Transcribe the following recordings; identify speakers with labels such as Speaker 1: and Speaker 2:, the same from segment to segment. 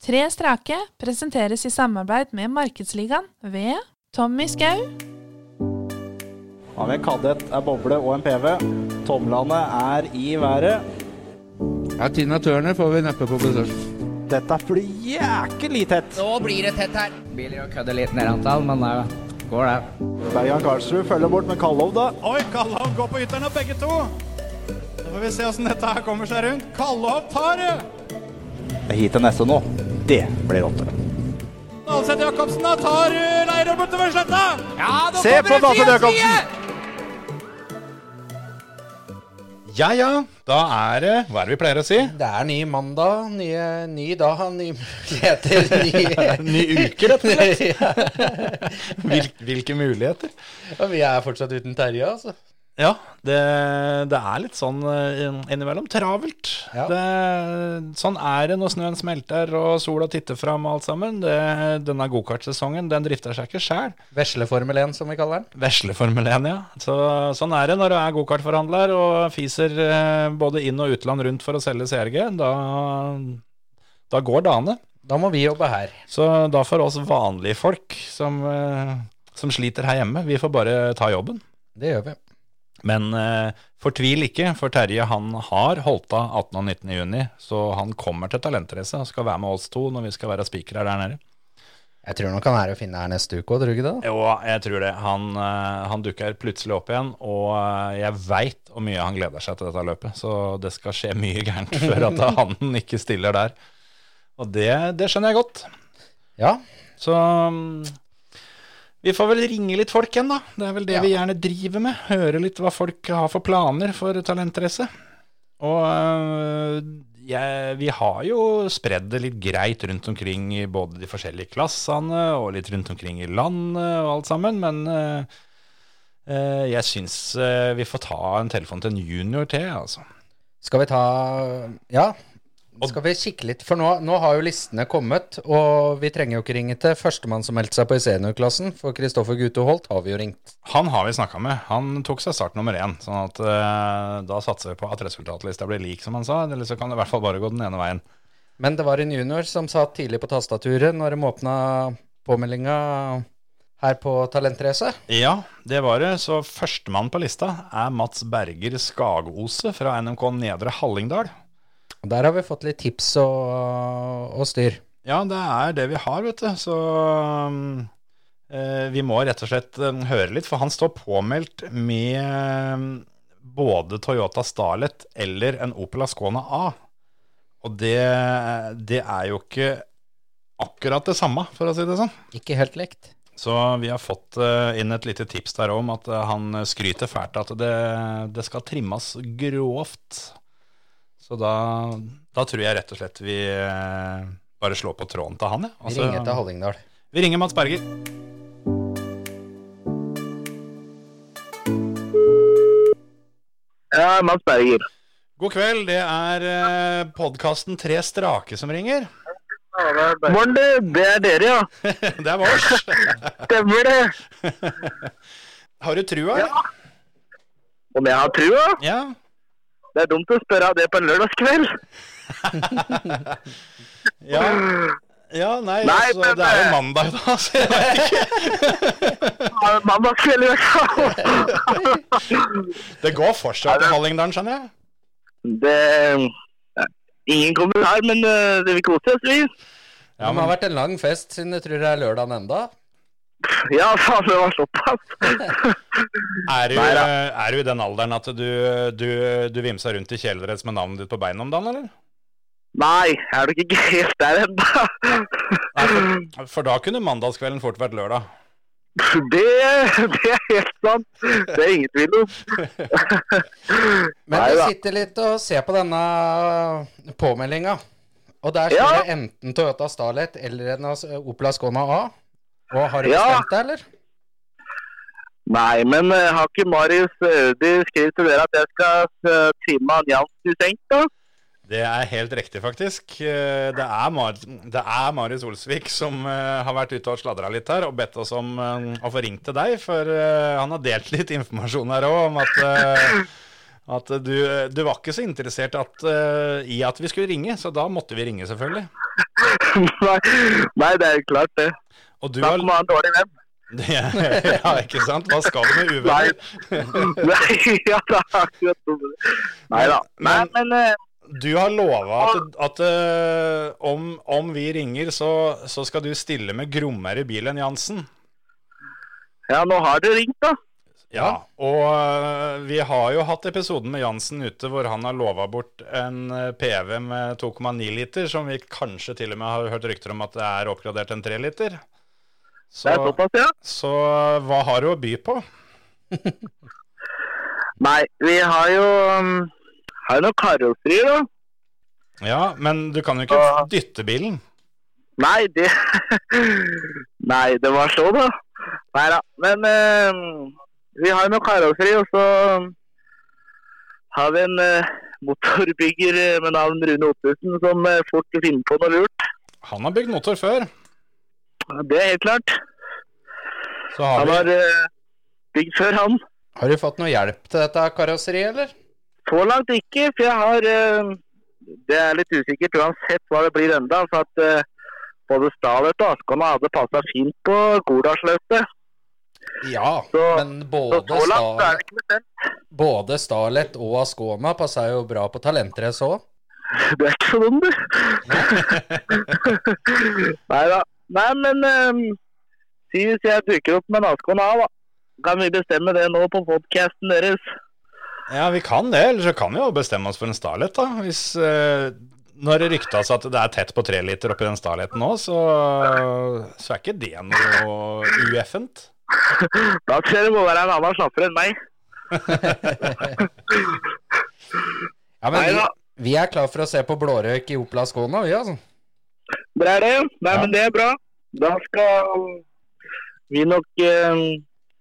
Speaker 1: Tre strake presenteres i samarbeid med Markedsligaen ved Tommy Skau.
Speaker 2: Har vi en kadett, er boble og en PV. Tomlene er i været.
Speaker 3: Ja, Tina Turner får vi neppe på besøk.
Speaker 2: Dette blir jækelig tett.
Speaker 4: Nå blir det tett her. Biler å kødde litt ned antall, men det går det.
Speaker 2: Bergan Karlsrud følger bort med Kallov, da.
Speaker 5: Oi, Kallov går på ytteren av begge to. Da får vi se åssen dette her kommer seg rundt. Kallov tar eh, det!
Speaker 2: Hit til neste nå. Det blir åtte.
Speaker 5: Alseth Jacobsen da tar eh, Leirø bortover sletta.
Speaker 4: Ja, nå
Speaker 2: Se på
Speaker 4: kommer det frie,
Speaker 2: Basse
Speaker 4: frie!
Speaker 2: Jacobsen!
Speaker 6: Ja ja, da er det Hva er det vi pleier å si?
Speaker 3: Det er ny mandag, nye, ny dag, nye muligheter, ny,
Speaker 6: Ny uke, rett og slett.
Speaker 3: ja.
Speaker 6: Hvil, hvilke muligheter?
Speaker 3: Og vi er fortsatt uten Terje, altså.
Speaker 6: Ja, det, det er litt sånn eh, innimellom travelt.
Speaker 3: Ja.
Speaker 6: Det, sånn er det når snøen smelter og sola titter fram og alt sammen. Det, denne gokartsesongen den drifter seg ikke sjæl.
Speaker 3: Vesle Formel 1, som vi kaller den.
Speaker 6: Vesle Formel 1, ja. Så, sånn er det når du er gokartforhandler og fiser eh, både inn og utland rundt for å selge CRG. Da, da går dagene.
Speaker 3: Da må vi jobbe her.
Speaker 6: Så da får oss vanlige folk som, eh, som sliter her hjemme, vi får bare ta jobben.
Speaker 3: Det gjør vi.
Speaker 6: Men eh, fortvil ikke, for Terje han har holdt av 18. og 19. juni, så han kommer til talentrace og skal være med oss to når vi skal være spikere der nede.
Speaker 3: Jeg tror nok han er å finne her neste uke òg, tror du ikke det?
Speaker 6: Jo, jeg tror det. Han, eh, han dukker plutselig opp igjen, og eh, jeg veit hvor mye han gleder seg til dette løpet. Så det skal skje mye gærent før at han ikke stiller der. Og det, det skjønner jeg godt.
Speaker 3: Ja.
Speaker 6: Så mm, vi får vel ringe litt folk igjen, da. Det er vel det
Speaker 3: Ja.
Speaker 6: vi gjerne driver med. Høre litt hva folk har for planer for talentrace. Og øh, jeg, vi har jo spredd det litt greit rundt omkring i både de forskjellige klassene og litt rundt omkring i landet og alt sammen, men øh, øh, jeg syns øh, vi får ta en telefon til en junior til, altså.
Speaker 3: Skal vi ta Ja.
Speaker 6: Og-
Speaker 3: Skal vi kikke litt, for nå, nå har jo listene kommet, og vi trenger jo ikke ringe til førstemann som meldte seg på i seniorklassen, for Kristoffer Gute Holt har vi jo ringt.
Speaker 6: Han har vi snakka med. Han tok seg start nummer én. sånn at eh, da satser vi på at resultatlista blir lik, som han sa. Eller så kan det i hvert fall bare gå den ene veien.
Speaker 3: Men det var en junior som satt tidlig på tastaturet når de åpna påmeldinga her på Talentrace.
Speaker 6: Ja, det var det. Så førstemann på lista er Mats Berger Skagose fra NMK Nedre Hallingdal.
Speaker 3: Og Der har vi fått litt tips og, og styr.
Speaker 6: Ja, det er det vi har, vet du. Så um, eh, vi må rett og slett um, høre litt, for han står påmeldt med um, både Toyota Starlet eller en Opel Ascona A. Og det, det er jo ikke akkurat det samme, for å si det sånn.
Speaker 3: Ikke helt likt.
Speaker 6: Så vi har fått eh, inn et lite tips der om at eh, han skryter fælt at det, det skal trimmes grovt. Så da, da tror jeg rett og slett vi eh, bare slår på tråden til han, jeg.
Speaker 3: Vi
Speaker 6: Og så-
Speaker 3: ringer til Hallingdal.
Speaker 6: vi ringer Mats Berger.
Speaker 7: Ja, Mads Berger.
Speaker 6: God kveld, det er eh, podkasten Tre strake som ringer.
Speaker 7: Morn, du. Det er dere, ja.
Speaker 6: Det er vårs.
Speaker 7: Stemmer det.
Speaker 6: Har du trua? eller?
Speaker 7: Om jeg har trua?
Speaker 6: ja.
Speaker 7: Det er dumt å spørre av det på en lørdagskveld.
Speaker 6: Ja. ja, nei,
Speaker 7: Nei,
Speaker 6: altså,
Speaker 7: men,
Speaker 6: det er jo
Speaker 7: eh,
Speaker 6: mandag da, så jeg vet ikke.
Speaker 7: Ja, Mandagskveld, i hvert fall.
Speaker 6: Det går fortsatt til Hallingdalen, skjønner jeg.
Speaker 7: Det ja, Ingen kommentar, men eh, det vil kose oss, vi.
Speaker 3: Ja, men... Det har vært en lang fest siden jeg tror det er lørdagen enda.
Speaker 7: Ja, faen, det var såpass.
Speaker 6: Er du, eh,
Speaker 7: Nei da.
Speaker 6: er du i den alderen at du, du, du vimser rundt i kjeledress med navnet ditt på beina om dagen, eller?
Speaker 7: Nei, jeg er nok ikke helt der ennå.
Speaker 6: Nei, for, for da kunne mandagskvelden fort vært lørdag.
Speaker 7: Det, det er helt sant. Det er ingen tvil om.
Speaker 3: Men
Speaker 7: Nei da.
Speaker 3: vi sitter litt og ser på denne påmeldinga. Og der
Speaker 7: Ja.
Speaker 3: står det enten Toyota Starlet eller en As- Opel Ascona A. Og har du
Speaker 7: Ja.
Speaker 3: bestemt deg, eller?
Speaker 7: Nei, men eh, har ikke Marius eh, Audi skrevet til dere at jeg skal eh, trimme han Jansen i senk, da?
Speaker 6: Det er helt riktig, faktisk. Eh, Det er, Mar det er Marius Olsvik som eh, har vært ute og sladra litt her og bedt oss om eh, å få ringt til deg, for eh, han har delt litt informasjon her òg om at, eh, at du, du var ikke så interessert at, eh, i at vi skulle ringe, så da måtte vi ringe, selvfølgelig.
Speaker 7: nei, nei, det er jo klart det.
Speaker 6: Og du
Speaker 7: Da
Speaker 6: har
Speaker 7: må man ha en dårlig venn.
Speaker 6: Ja, ikke sant? Hva skal du med
Speaker 7: Nei.
Speaker 6: uvenner?
Speaker 7: Nei, ja, det er akkurat sånn. Nei da. Nei,
Speaker 6: Men-
Speaker 7: men eh,
Speaker 6: Du har lova at,
Speaker 7: Ah.
Speaker 6: at eh, om, om vi ringer, så, så skal du stille med grommere bil enn Jansen.
Speaker 7: ja, nå har dere ringt, da.
Speaker 6: Ja, og øh, vi har jo hatt episoden med Jansen ute hvor han har lova bort en øh, PV med 2,9 liter, som vi kanskje til og med har hørt rykter om at det er oppgradert til en 3 liter.
Speaker 7: Det
Speaker 6: Så,
Speaker 7: er såpass, ja.
Speaker 6: så hva har du å by på?
Speaker 7: Nei, vi har jo um, Har jo noen karosserier, da.
Speaker 6: Ja, men du kan jo ikke
Speaker 7: Ja.
Speaker 6: dytte bilen.
Speaker 7: Nei, det Nei, det var så, da. Nei da. Men eh, vi har noe karosseri, og så um, har vi en eh, motorbygger eh, med navn Rune Ottesen som eh, fort finner på noe lurt.
Speaker 6: Han har bygd motor før.
Speaker 7: Det er helt klart.
Speaker 6: Så har
Speaker 7: Han
Speaker 6: vi,
Speaker 7: har eh, bygd før, han.
Speaker 3: Har du fått noe hjelp til dette karosseriet, eller?
Speaker 7: Så langt ikke, for jeg har eh, Det er litt usikkert uansett hva det blir enda, for at eh, både Stalert og Askan hadde passa fint på Gordalsløpet.
Speaker 3: Ja,
Speaker 7: Så-
Speaker 3: men
Speaker 7: Så
Speaker 3: både,
Speaker 7: så langt så er
Speaker 3: Stal
Speaker 7: det ikke bestemt.
Speaker 3: både Starlet og Askoma passa jo bra på talentrace òg.
Speaker 7: Du er ikke så dum, du. Nei da. Nei, men eh, si hvis jeg dukker opp med en Askan A, da. Kan vi bestemme det nå på podkasten deres?
Speaker 6: ja, vi kan det. Eller så kan vi jo bestemme oss for en Starlet, da. Hvis, øh, når det ryktes at det er tett på 3 liter oppi den Starleten nå, så, så er ikke det noe ueffent.
Speaker 7: Da tror jeg det må være en annen slapper enn meg.
Speaker 3: Ja, men vi,
Speaker 7: Neida.
Speaker 3: vi er klar for å se på blårøyk i Opel Askona, vi, altså.
Speaker 7: Det er det. Nei,
Speaker 6: Ja.
Speaker 7: men det er bra. Da skal vi nok eh,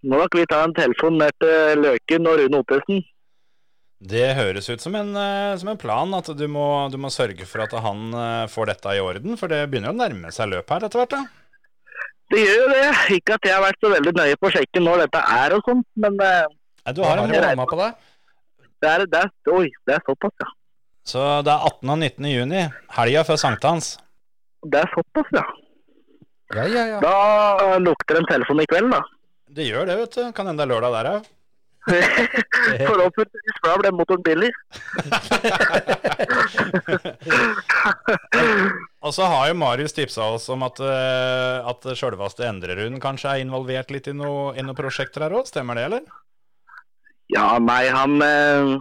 Speaker 7: Må nok vi ta en telefon ned til Løken og Rune Ottesen.
Speaker 6: Det høres ut som en, eh, som en plan at du må, du må sørge for at han eh, får dette i orden, for det begynner å nærme seg løp her etter hvert. da.
Speaker 7: Det gjør jo det. Ikke at jeg har vært så veldig nøye på å sjekke når dette er og sånt, men eh,
Speaker 6: Nei, Du har en
Speaker 3: du
Speaker 6: måned.
Speaker 3: mamma på deg?
Speaker 7: det er, det er, oi, det er såpass, ja.
Speaker 6: Så det er 18. og 19. juni, helga før sankthans.
Speaker 7: Det er såpass, ja.
Speaker 3: Ja, ja, ja.
Speaker 7: Da lukter en telefon i kveld, da.
Speaker 6: Det gjør det, vet du. Kan hende det er lørdag der òg.
Speaker 7: Forhåpentligvis, for da blir motoren billig.
Speaker 6: Og så har jo Marius tipsa oss om at, eh, at sjølveste Endrerund kanskje er involvert litt i noe- i noen prosjekter her òg. Stemmer det, eller?
Speaker 7: Ja, nei, han eh,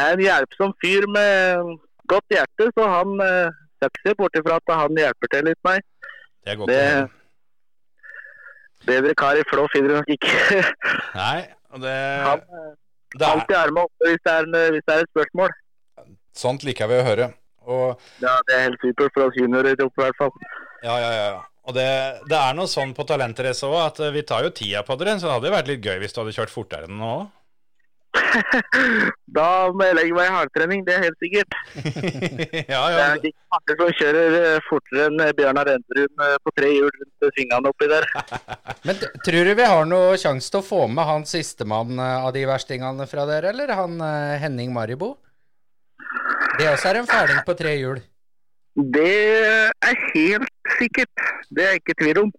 Speaker 7: er en hjelpsom fyr med godt hjerte, så han eh, skal ikke se bort ifra at han hjelper til litt, nei.
Speaker 6: Det er godt. å
Speaker 7: Det-
Speaker 6: høre.
Speaker 7: Bedre kar i Flå finner du nok ikke.
Speaker 6: Nei, og
Speaker 7: Han
Speaker 6: det, det er,
Speaker 7: alltid armene oppe hvis det, er en, hvis det er et spørsmål.
Speaker 6: Sånt liker vi å høre. Og
Speaker 7: Ja, Det er helt supert for oss juniorer oppe, i hvert fall.
Speaker 6: Ja, ja, ja. ja. Og det, det er noe sånn på talentrace òg, at eh, vi tar jo tida på dere. Så det hadde jo vært litt gøy hvis du hadde kjørt fortere enn nå òg.
Speaker 7: Da må jeg legge meg i hardtrening, det er helt sikkert.
Speaker 6: ja,
Speaker 7: Det
Speaker 6: ja.
Speaker 7: er ikke mange som kjører eh, fortere enn eh, Bjørnar Endrun eh, på tre hjul rundt svingene oppi der.
Speaker 3: Men t- tror du vi har noe sjanse til å få med han sistemann eh, av de verstingene fra dere, eller han eh, Henning Maribo? Det også er en fæling på tre hjul.
Speaker 7: Det er helt sikkert. Det er jeg ikke i tvil om.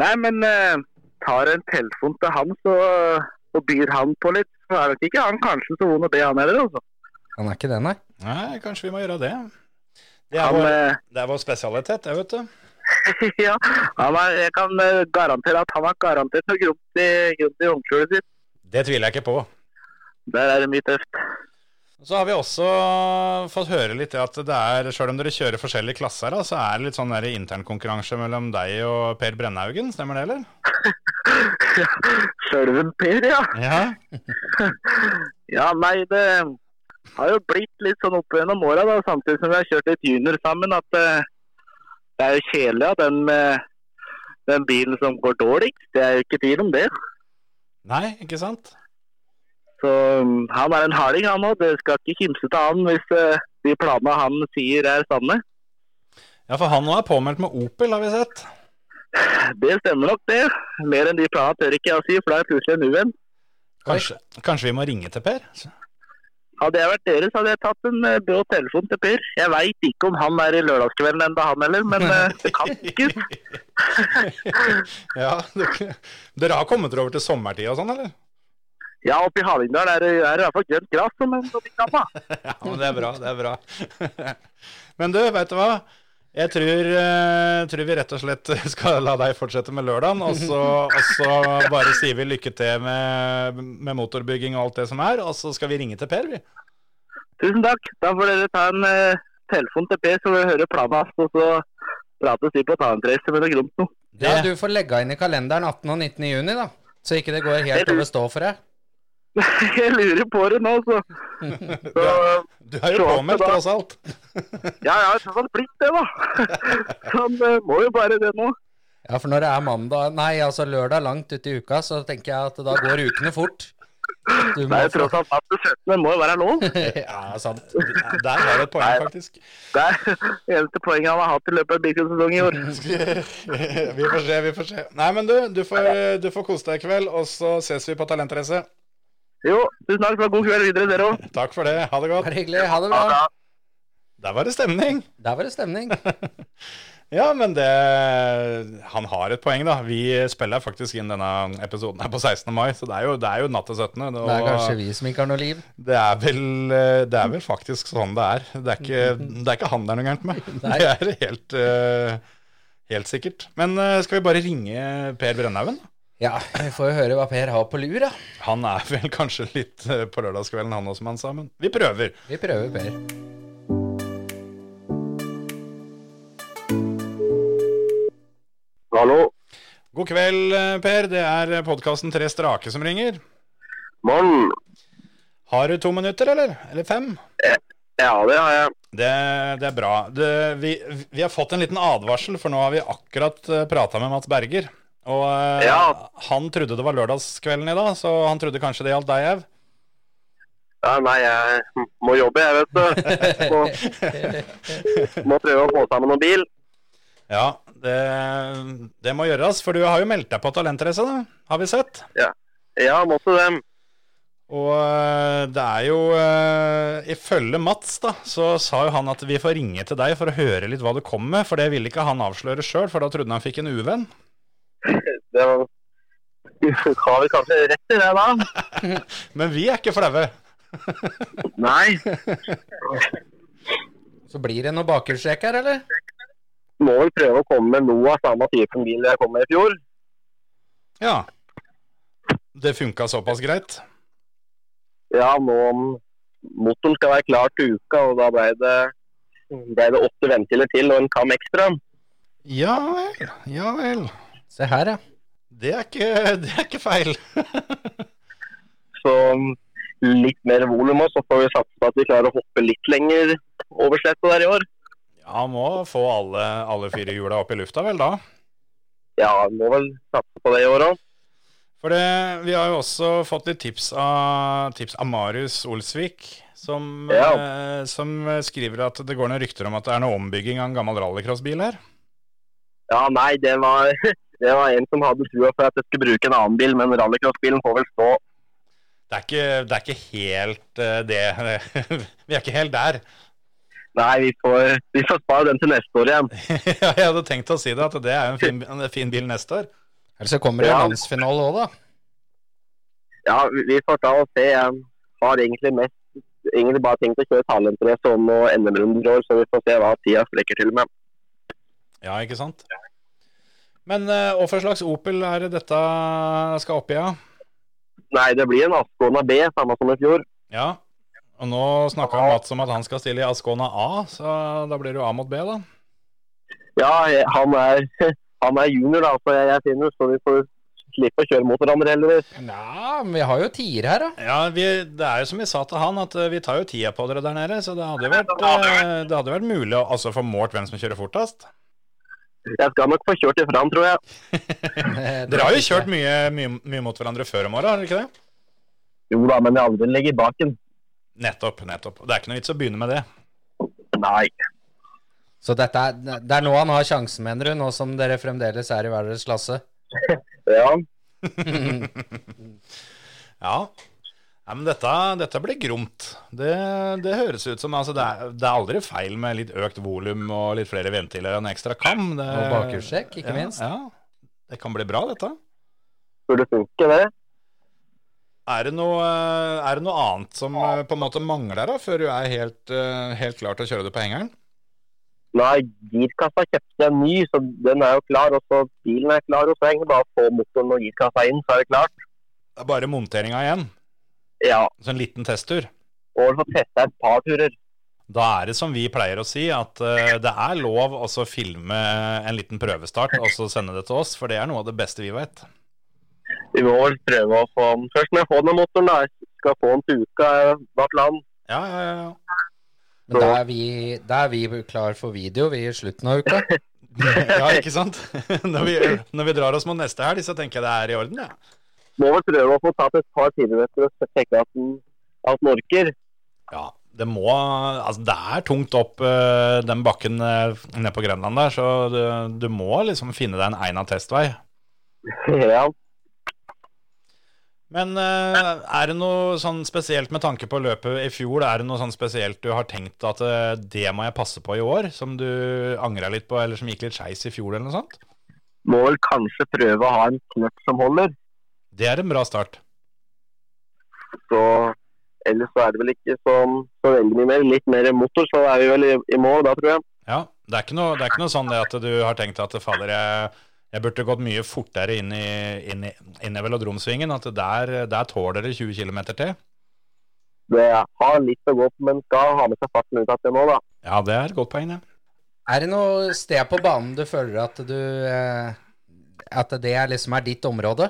Speaker 7: Nei, men eh, tar en telefon til han så, eh, og byr han på litt, så er nok ikke han kanskje så vond å be, han heller. Altså.
Speaker 3: Han er ikke det, nei.
Speaker 6: Nei, kanskje vi må gjøre det. Det er,
Speaker 7: Han,
Speaker 6: vår,
Speaker 7: eh,
Speaker 6: det er vår spesialitet, det, vet du.
Speaker 7: ja, han er, jeg kan eh, garantere at han har garantert noe gromt i, gromt i håndskjulet sitt.
Speaker 6: Det tviler jeg ikke på.
Speaker 7: Der er det mye tøft.
Speaker 6: Så har vi også fått høre litt det at det er, sjøl om dere kjører forskjellige klasser, da, så er det litt sånn der internkonkurranse mellom deg og Per Brennhaugen, stemmer det, eller?
Speaker 7: Sjølven Per, ja.
Speaker 6: Ja.
Speaker 7: Ja, nei, det har jo blitt litt sånn opp gjennom åra, da, samtidig som vi har kjørt litt junior sammen, at eh, det er jo kjedelig at den, eh, den bilen som går dårligst, det er jo ikke tvil om det.
Speaker 6: Nei, ikke sant?
Speaker 7: Så mm, han er en harding, han òg. Det skal ikke kimse til han hvis eh, de planene han sier er sanne.
Speaker 6: Ja, for han nå er påmeldt med Opel, har vi sett.
Speaker 7: Det stemmer nok, det. Mer enn de planene tør ikke jeg å si, for da er jeg plutselig en uvenn.
Speaker 6: Kanskje, kanskje vi må ringe til Per?
Speaker 7: Hadde jeg vært deres, hadde jeg tatt en eh, brå telefon til Per. Jeg veit ikke om han er i lørdagskvelden ennå, han heller, men eh, det kan ikke.
Speaker 6: Ja, dere, dere har kommet dere over til sommertid og sånn, eller?
Speaker 7: Ja, oppe i Hallingdal er det er det i hvert fall grønt gress som en som kan, da.
Speaker 6: Ja, men det er bra, det er bra. Men du, veit du hva? Jeg tror, eh, tror vi rett og slett skal la deg fortsette med lørdagen, og så, og så bare sier vi lykke til med, med motorbygging og alt det som er, og så skal vi ringe til Per, vi.
Speaker 7: Tusen takk. Da får dere ta en eh, telefon til Per, så får vi høre planen hans, og så prates vi på et annet race med noe gromt noe.
Speaker 3: Ja, du får legge inn i kalenderen 18. og 19. juni, da. Så ikke det går helt over stå for deg.
Speaker 7: Jeg lurer på det nå, så. så
Speaker 6: Du er jo påmeldt, tross alt.
Speaker 7: ja, jeg har i hvert fall blitt det, da. Han eh, må jo bare det nå.
Speaker 3: Ja, for når det er mandag Nei, altså lørdag langt ute i uka, så tenker jeg at da går ukene fort. Du
Speaker 7: Det
Speaker 3: må
Speaker 7: er jo
Speaker 3: få
Speaker 7: tross alt natt til 17, det må jo være lov.
Speaker 6: Ja, sant. Der var det et poeng, faktisk.
Speaker 7: Det er det eneste poenget han har hatt i løpet av bilcrossesongen i år.
Speaker 6: Vi får se, vi får se. Nei, men du, du får, du får kose deg i kveld, og så ses vi på Talentrace.
Speaker 7: Jo, tusen takk. Ha god kveld videre, dere òg.
Speaker 6: Takk for det, ha det
Speaker 3: Det
Speaker 6: godt.
Speaker 3: er hyggelig. Ha det bra.
Speaker 6: Der var det stemning.
Speaker 3: Der var det stemning.
Speaker 6: Ja, men det Han har et poeng, da. Vi spiller faktisk inn denne episoden her på 16. mai, så det er jo, det er jo natt til 17. Og
Speaker 3: Det er kanskje vi som ikke har noe liv.
Speaker 6: det, er vel, eh, det er vel faktisk sånn det er. Det er ikke, det er ikke han det er noe gærent med.
Speaker 3: Nei.
Speaker 6: Det er helt, eh, helt sikkert. Men eh, skal vi bare ringe Per Brennhaugen?
Speaker 3: Ja, vi får jo høre hva Per har på lur, da.
Speaker 6: Han er vel kanskje litt eh, på lørdagskvelden, han også, som han sa, men vi prøver.
Speaker 3: Vi prøver Per.
Speaker 7: Hallo.
Speaker 6: God kveld, eh, Per. Det er podkasten Tre strake som ringer.
Speaker 7: Morn.
Speaker 6: Har du to minutter, eller? Eller fem?
Speaker 7: Ja, det har jeg.
Speaker 6: Det, det er bra. Det, vi, vi har fått en liten advarsel, for nå har vi akkurat prata med Mats Berger. Og eh,
Speaker 7: Ja.
Speaker 6: han trodde det var lørdagskvelden i dag, så han trodde kanskje det gjaldt deg, Ev.
Speaker 7: Ja, nei, jeg må jobbe, jeg, vet du. Må, må prøve å få sammen noen bil.
Speaker 6: Ja, det, det må gjøres, for du har jo meldt deg på Talentrace, da, har vi sett.
Speaker 7: Ja, måtte det.
Speaker 6: Og eh, det er jo eh, Ifølge Mats, da, så sa jo han at vi får ringe til deg for å høre litt hva du kom med, for det ville ikke han avsløre sjøl, for da trodde han fikk en uvenn.
Speaker 7: Det var... Har vi kanskje rett i det, da?
Speaker 6: Men vi er ikke flaue.
Speaker 7: Nei.
Speaker 3: Så blir det noe bakhjulstrekk her, eller?
Speaker 7: Må vel prøve å komme med noe av samme typen bil jeg kom med i fjor.
Speaker 6: Ja. Det funka såpass greit.
Speaker 7: Ja, nå motoren skal være klar til uka, og da ble det, ble det åtte ventiler til og en kam ekstra.
Speaker 6: Ja vel, ja vel.
Speaker 3: Se her, ja.
Speaker 6: Det er ikke, det er ikke feil.
Speaker 7: Så um, litt mer volum, og så får vi satse på at vi klarer å hoppe litt lenger over slettet der i år.
Speaker 6: Ja, må få alle, alle fire hjula opp i lufta vel, da.
Speaker 7: Ja, vi må vel satse på det i år òg.
Speaker 6: For det, vi har jo også fått litt tips av, tips av Marius Olsvik, som,
Speaker 7: Ja.
Speaker 6: eh, som skriver at det går noen rykter om at det er noe ombygging av en gammel rallycrossbil her.
Speaker 7: Ja, nei, det var, det var en som hadde trua for at jeg skulle bruke en annen bil, men rallycrossbilen får vel stå.
Speaker 6: Det er ikke, det er ikke helt eh, det Vi er ikke helt der.
Speaker 7: Nei, vi får, vi får spare den til neste år igjen.
Speaker 6: Jeg hadde tenkt å si det, at det er jo en fin, en fin bil neste år.
Speaker 3: Eller så kommer det
Speaker 7: Ja.
Speaker 3: jo landsfinale òg, da.
Speaker 7: Ja, vi- vi får ta og se. Jeg har egentlig mest egentlig bare tenkt å kjøre talentrace om og NM-runden i år, så vi får se hva tida strekker til med.
Speaker 6: Ja, ikke sant? Men eh, hva for slags Opel er det dette skal opp i, ja?
Speaker 7: Nei, det blir en Ascona B, samme som i fjor.
Speaker 6: Ja, og nå snakka Mats om at han skal stille i Ascona A, så da blir det jo A mot B, da.
Speaker 7: Ja, jeg- han er, han er junior, da, så jeg, jeg er senior, så vi får slippe å kjøre mot hverandre heldigvis.
Speaker 3: Nja, men vi har jo tier her, da.
Speaker 6: Ja, vi, Det er jo som vi sa til han, at eh, vi tar jo tida på dere der nede. Så det hadde jo vært, eh, det hadde vært mulig å altså, få målt hvem som kjører fortest.
Speaker 7: Jeg skal nok få kjørt ifra han, tror jeg.
Speaker 6: Dere har jo kjørt mye, mye, mye mot hverandre før om åra, har dere ikke det?
Speaker 7: Jo da, men jeg aldri legger bak den.
Speaker 6: Nettopp. nettopp. Det er ikke noe vits å begynne med det.
Speaker 7: Nei.
Speaker 3: Så dette er, det er nå han har sjansen, mener du? Nå som dere fremdeles er i hver deres klasse?
Speaker 7: Ja,
Speaker 6: Ja. Nei, men dette, dette blir gromt. Det, det høres ut som altså, det, er, det er aldri feil med litt økt volum og litt flere ventiler og en ekstra kam. Det,
Speaker 3: Og bakhjulstrekk, ikke
Speaker 6: ja,
Speaker 3: minst.
Speaker 6: Ja, Det kan bli bra, dette.
Speaker 7: Burde funke, det.
Speaker 6: Er det noe, er det noe annet som eh, på en måte mangler da, før du er helt, eh, helt klar til å kjøre det på hengeren?
Speaker 7: Nei, girkassa kjøpte jeg ny, så den er jo klar. Og så bilen er klar, og så henger det bare på motoren og girkassa inn, så er det klart.
Speaker 6: Det er bare monteringa igjen,
Speaker 7: Ja,
Speaker 6: så en liten testtur.
Speaker 7: og får testa et par turer.
Speaker 6: Da er det som vi pleier å si, at eh, det er lov å så filme en liten prøvestart og så sende det til oss, for det er noe av det beste vi vet.
Speaker 7: Vi må vel prøve å få den først. Men jeg får den av motoren, da. Jeg skal få den til uka, eh, hvert land.
Speaker 6: Ja, ja, ja, ja.
Speaker 3: Men da er, vi, da er vi klar for video vi i slutten av uka.
Speaker 6: ja ikke sant? Når vi, når vi drar oss mot neste helg, så tenker jeg det er i orden, ja.
Speaker 7: Må vel prøve å få tatt et par kilometer og sjekke at den, at den orker.
Speaker 6: Ja, det må Altså, det er tungt opp eh, den bakken eh, nede på Grenland der, så du, du må liksom finne deg en egna testvei.
Speaker 7: Ja.
Speaker 6: Men eh, er det noe sånn spesielt med tanke på løpet i fjor, er det noe sånn spesielt du har tenkt at eh, det må jeg passe på i år, som du angra litt på, eller som gikk litt skeis i fjor, eller noe sånt?
Speaker 7: Må vel kanskje prøve å ha en kløtsj som holder.
Speaker 6: Det er en bra start.
Speaker 7: Så ellers så er det vel ikke sånn så veldig mye mer. Litt mer motor, så er vi vel i, i mål da, tror jeg.
Speaker 6: Ja, det er ikke noe, det er ikke noe sånn det at du har tenkt at fader, jeg, jeg burde gått mye fortere inn i, inn i, inn i velodromsvingen, at der, der tåler det 20 km til.
Speaker 7: Det har litt å gå på, men skal ha med seg farten ut etter nå, da.
Speaker 6: Ja, det er et godt poeng, det.
Speaker 3: Er det noe sted på banen du føler at du eh, At det er liksom er ditt område?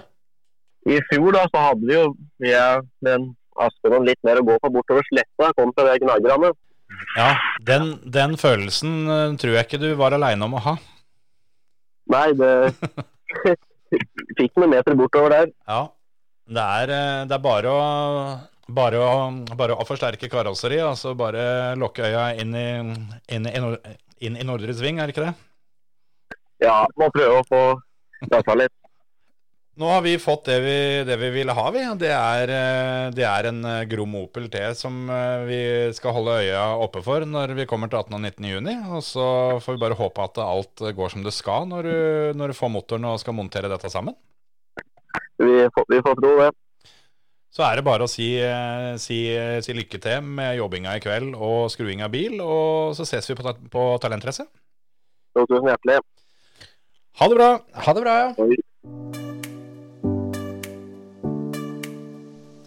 Speaker 7: I fjor da, så hadde vi jo jeg med en Askeland litt mer å gå på bortover sletta. Kom til det gnagerne.
Speaker 6: Ja, den, den følelsen eh, tror jeg ikke du var aleine om å ha.
Speaker 7: Nei, det Fikk noen meter bortover der.
Speaker 6: Ja, det er, eh, det er bare å bare å, bare å forsterke karosseriet, altså bare lokke øya inn i, inn, i, nor- inn i nordre sving, er det ikke det?
Speaker 7: Ja, må prøve å få gassa litt.
Speaker 6: Nå har vi fått det vi, det vi ville ha, vi. Det er, eh, det er en eh, Grom Opel T som eh, vi skal holde øya oppe for når vi kommer til 18. og 19. juni. Og så får vi bare håpe at alt eh, går som det skal når du, når du får motoren og skal montere dette sammen.
Speaker 7: Vi får, vi får tro det.
Speaker 6: Så er det bare å si, eh, si, eh, si lykke til med jobbinga i kveld og skruing av bil, og så ses vi på, ta- på Talentrace.
Speaker 7: Så Tusen hjertelig.
Speaker 6: Ha det bra!
Speaker 3: Ha det bra, ja.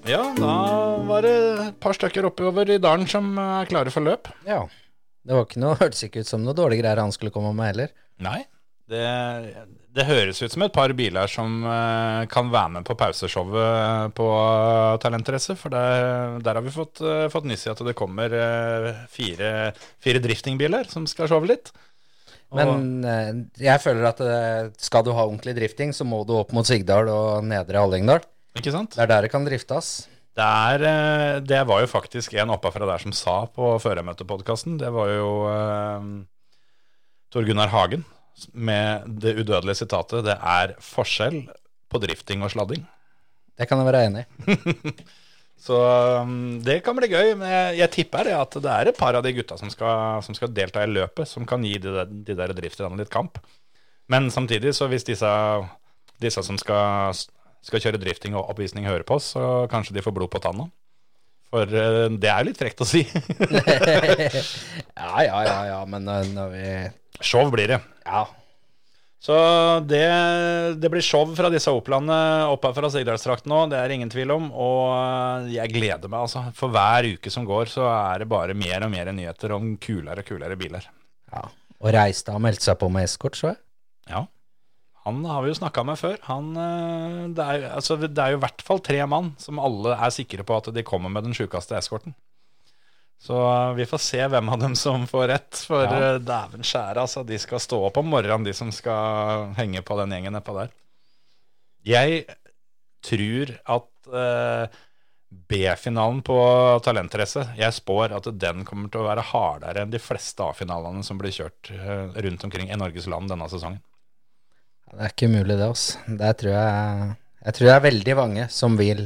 Speaker 6: Ja, da var det et par stykker oppover i dalen som eh, er klare for løp.
Speaker 3: ja. Det var ikke noe, hørtes ikke ut som noe dårlige greier han skulle komme med heller.
Speaker 6: Nei, det, det høres ut som et par biler som eh, kan være med på pauseshowet eh, på Talentrace, for der, der har vi fått, eh, fått nyss i at det kommer eh, fire, fire driftingbiler som skal showe litt. Og-
Speaker 3: Men eh, jeg føler at eh, skal du ha ordentlig drifting, så må du opp mot Sigdal og Nedre Hallingdal.
Speaker 6: ikke sant?
Speaker 3: Det er der det kan driftes.
Speaker 6: Det, er, eh, det var jo faktisk en oppafra der som sa på Førermøtepodkasten. Det var jo eh, Tor Gunnar Hagen med det udødelige sitatet 'Det er forskjell på drifting og sladding'.
Speaker 3: Det kan jeg være enig i.
Speaker 6: Så mm, det kan bli gøy. Men jeg, jeg tipper det at det er et par av de gutta som skal, som skal delta i løpet, som kan gi de, der- de der drifterne litt kamp. Men samtidig, så hvis disse, disse som skal, skal kjøre drifting og oppvisning hører på oss, så kanskje de får blod på tanna. For eh, det er jo litt frekt å si.
Speaker 3: Ja, ja, ja, ja, men eh, når vi
Speaker 6: Show blir det.
Speaker 3: Ja.
Speaker 6: Så det, det blir show fra disse Oplandene opp her fra Sigdalstrakten nå, det er ingen tvil om. Og eh, jeg gleder meg, altså. For hver uke som går, så er det bare mer og mer nyheter om kulere og kulere biler.
Speaker 3: ja. Og Reistad meldte seg på med eskort, så jeg.
Speaker 6: Ja. Han har vi jo snakka med før. Han, eh, det, er, altså, det er jo i hvert fall tre mann som alle er sikre på at de kommer med den sjukeste eskorten. Så eh, vi får se hvem av dem som får rett. For
Speaker 3: Ja.
Speaker 6: eh, dæven skjære, altså. De skal stå opp om morgenen, de som skal henge på den gjengen nedpå der. Jeg tror at eh, B-finalen på Talentrace Jeg spår at den kommer til å være hardere enn de fleste A-finalene som blir kjørt eh, rundt omkring i Norges land denne sesongen.
Speaker 3: Ja, Det er ikke umulig, det, altså. Der tror jeg Jeg tror det er veldig mange som vil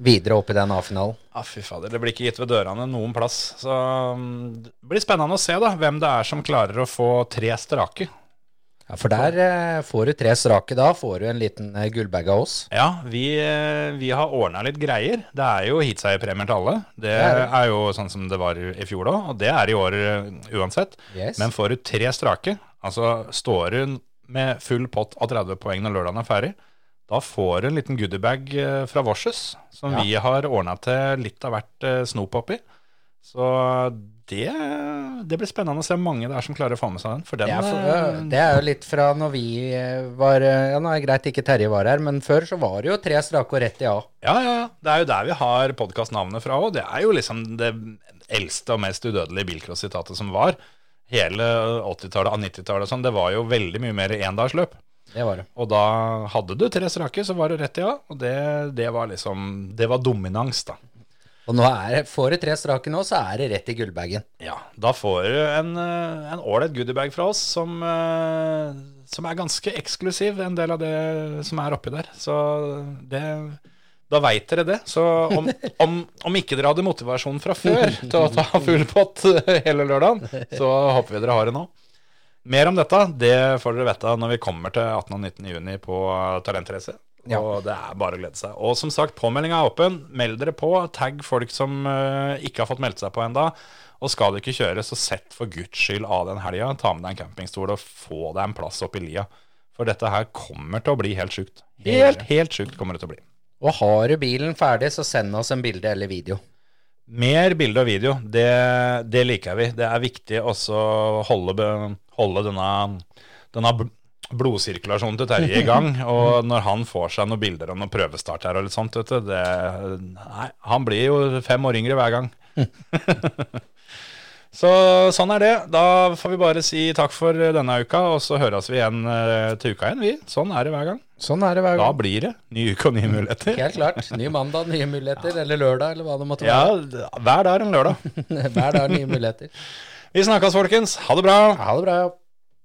Speaker 3: videre opp i den A-finalen.
Speaker 6: Ja, Ah, fy fader. Det blir ikke gitt ved dørene noen plass. Så mm, det blir spennende å se da, hvem det er som klarer å få tre strake.
Speaker 3: Ja, for der eh, får du tre strake da, får du en liten eh, gullbag av oss.
Speaker 6: Ja, vi, eh, vi har ordna litt greier. Det er jo heatseierpremier til alle. Det
Speaker 3: er det.
Speaker 6: er jo sånn som det var i fjor òg, og det er i år eh, uansett.
Speaker 3: Yes.
Speaker 6: Men får du tre strake, altså står du med full pott av 30 poeng når lørdagen er ferdig, da får du en liten goodiebag eh, fra Vorses, som
Speaker 3: Ja.
Speaker 6: vi har ordna til litt av hvert eh, snop oppi. Så det, det blir spennende å se hvor mange det er som klarer å få med seg den. For den
Speaker 3: det, er for,
Speaker 6: eh,
Speaker 3: det er jo litt fra når vi eh, var eh, Ja, nå er det greit ikke Terje var her, men før så var det jo tre strake og rett i A.
Speaker 6: Ja, ja, ja. Det er jo der vi har podkastnavnet fra òg. Det er jo liksom det eldste og mest udødelige bilcross-sitatet som var. Hele eh, 80-tallet og 90-tallet og sånn. Det var jo veldig mye mer endagsløp.
Speaker 3: Det var det.
Speaker 6: Og da hadde du tre strake, så var det rett i A. Og det, det var liksom Det var dominans, da.
Speaker 3: Og nå er, det- får du tre strake nå, så er det rett i gullbagen.
Speaker 6: Ja, da får du en eh, en ålreit goodiebag fra oss som, eh, som er ganske eksklusiv, en del av det som er oppi der. Så det Da veit dere det. Så om, om, om ikke dere hadde motivasjon fra før til å ta full pott hele lørdagen, så håper vi dere har det nå. Mer om dette det får dere vite når vi kommer til 18. og 19. juni på Talentrace.
Speaker 3: Ja.
Speaker 6: Og det er bare å glede seg. Og som sagt, påmeldinga er åpen. Meld dere på. Tagg folk som eh, ikke har fått meldt seg på enda Og skal du ikke kjøre, så sett for guds skyld av den helga. Ta med deg en campingstol og få deg en plass oppi lia. For dette her kommer til å bli helt sjukt. Helt, helt sjukt kommer det til å bli.
Speaker 3: Og har du bilen ferdig, så send oss en bilde eller video.
Speaker 6: Mer bilde og video, det, det liker vi. Det er viktig også å holde, be- holde denne, denne bl- blodsirkulasjonen til Terje i gang. Og når han får seg noen bilder og noen prøvestart her og litt sånt, vet du det, Nei, han blir jo fem år yngre hver gang. så sånn er det. Da får vi bare si takk for denne uka, og så høres vi igjen eh, til uka igjen, vi. Sånn er det hver gang.
Speaker 3: Sånn er det hver
Speaker 6: Da
Speaker 3: gang.
Speaker 6: blir det ny uke og nye muligheter.
Speaker 3: Helt klart. Ny mandag, nye muligheter. Eller lørdag, eller hva det måtte
Speaker 6: Ja,
Speaker 3: være.
Speaker 6: hver dag er en lørdag.
Speaker 3: Hver dag nye muligheter.
Speaker 6: Vi snakkes, folkens. Ha det bra.
Speaker 3: Ha det bra.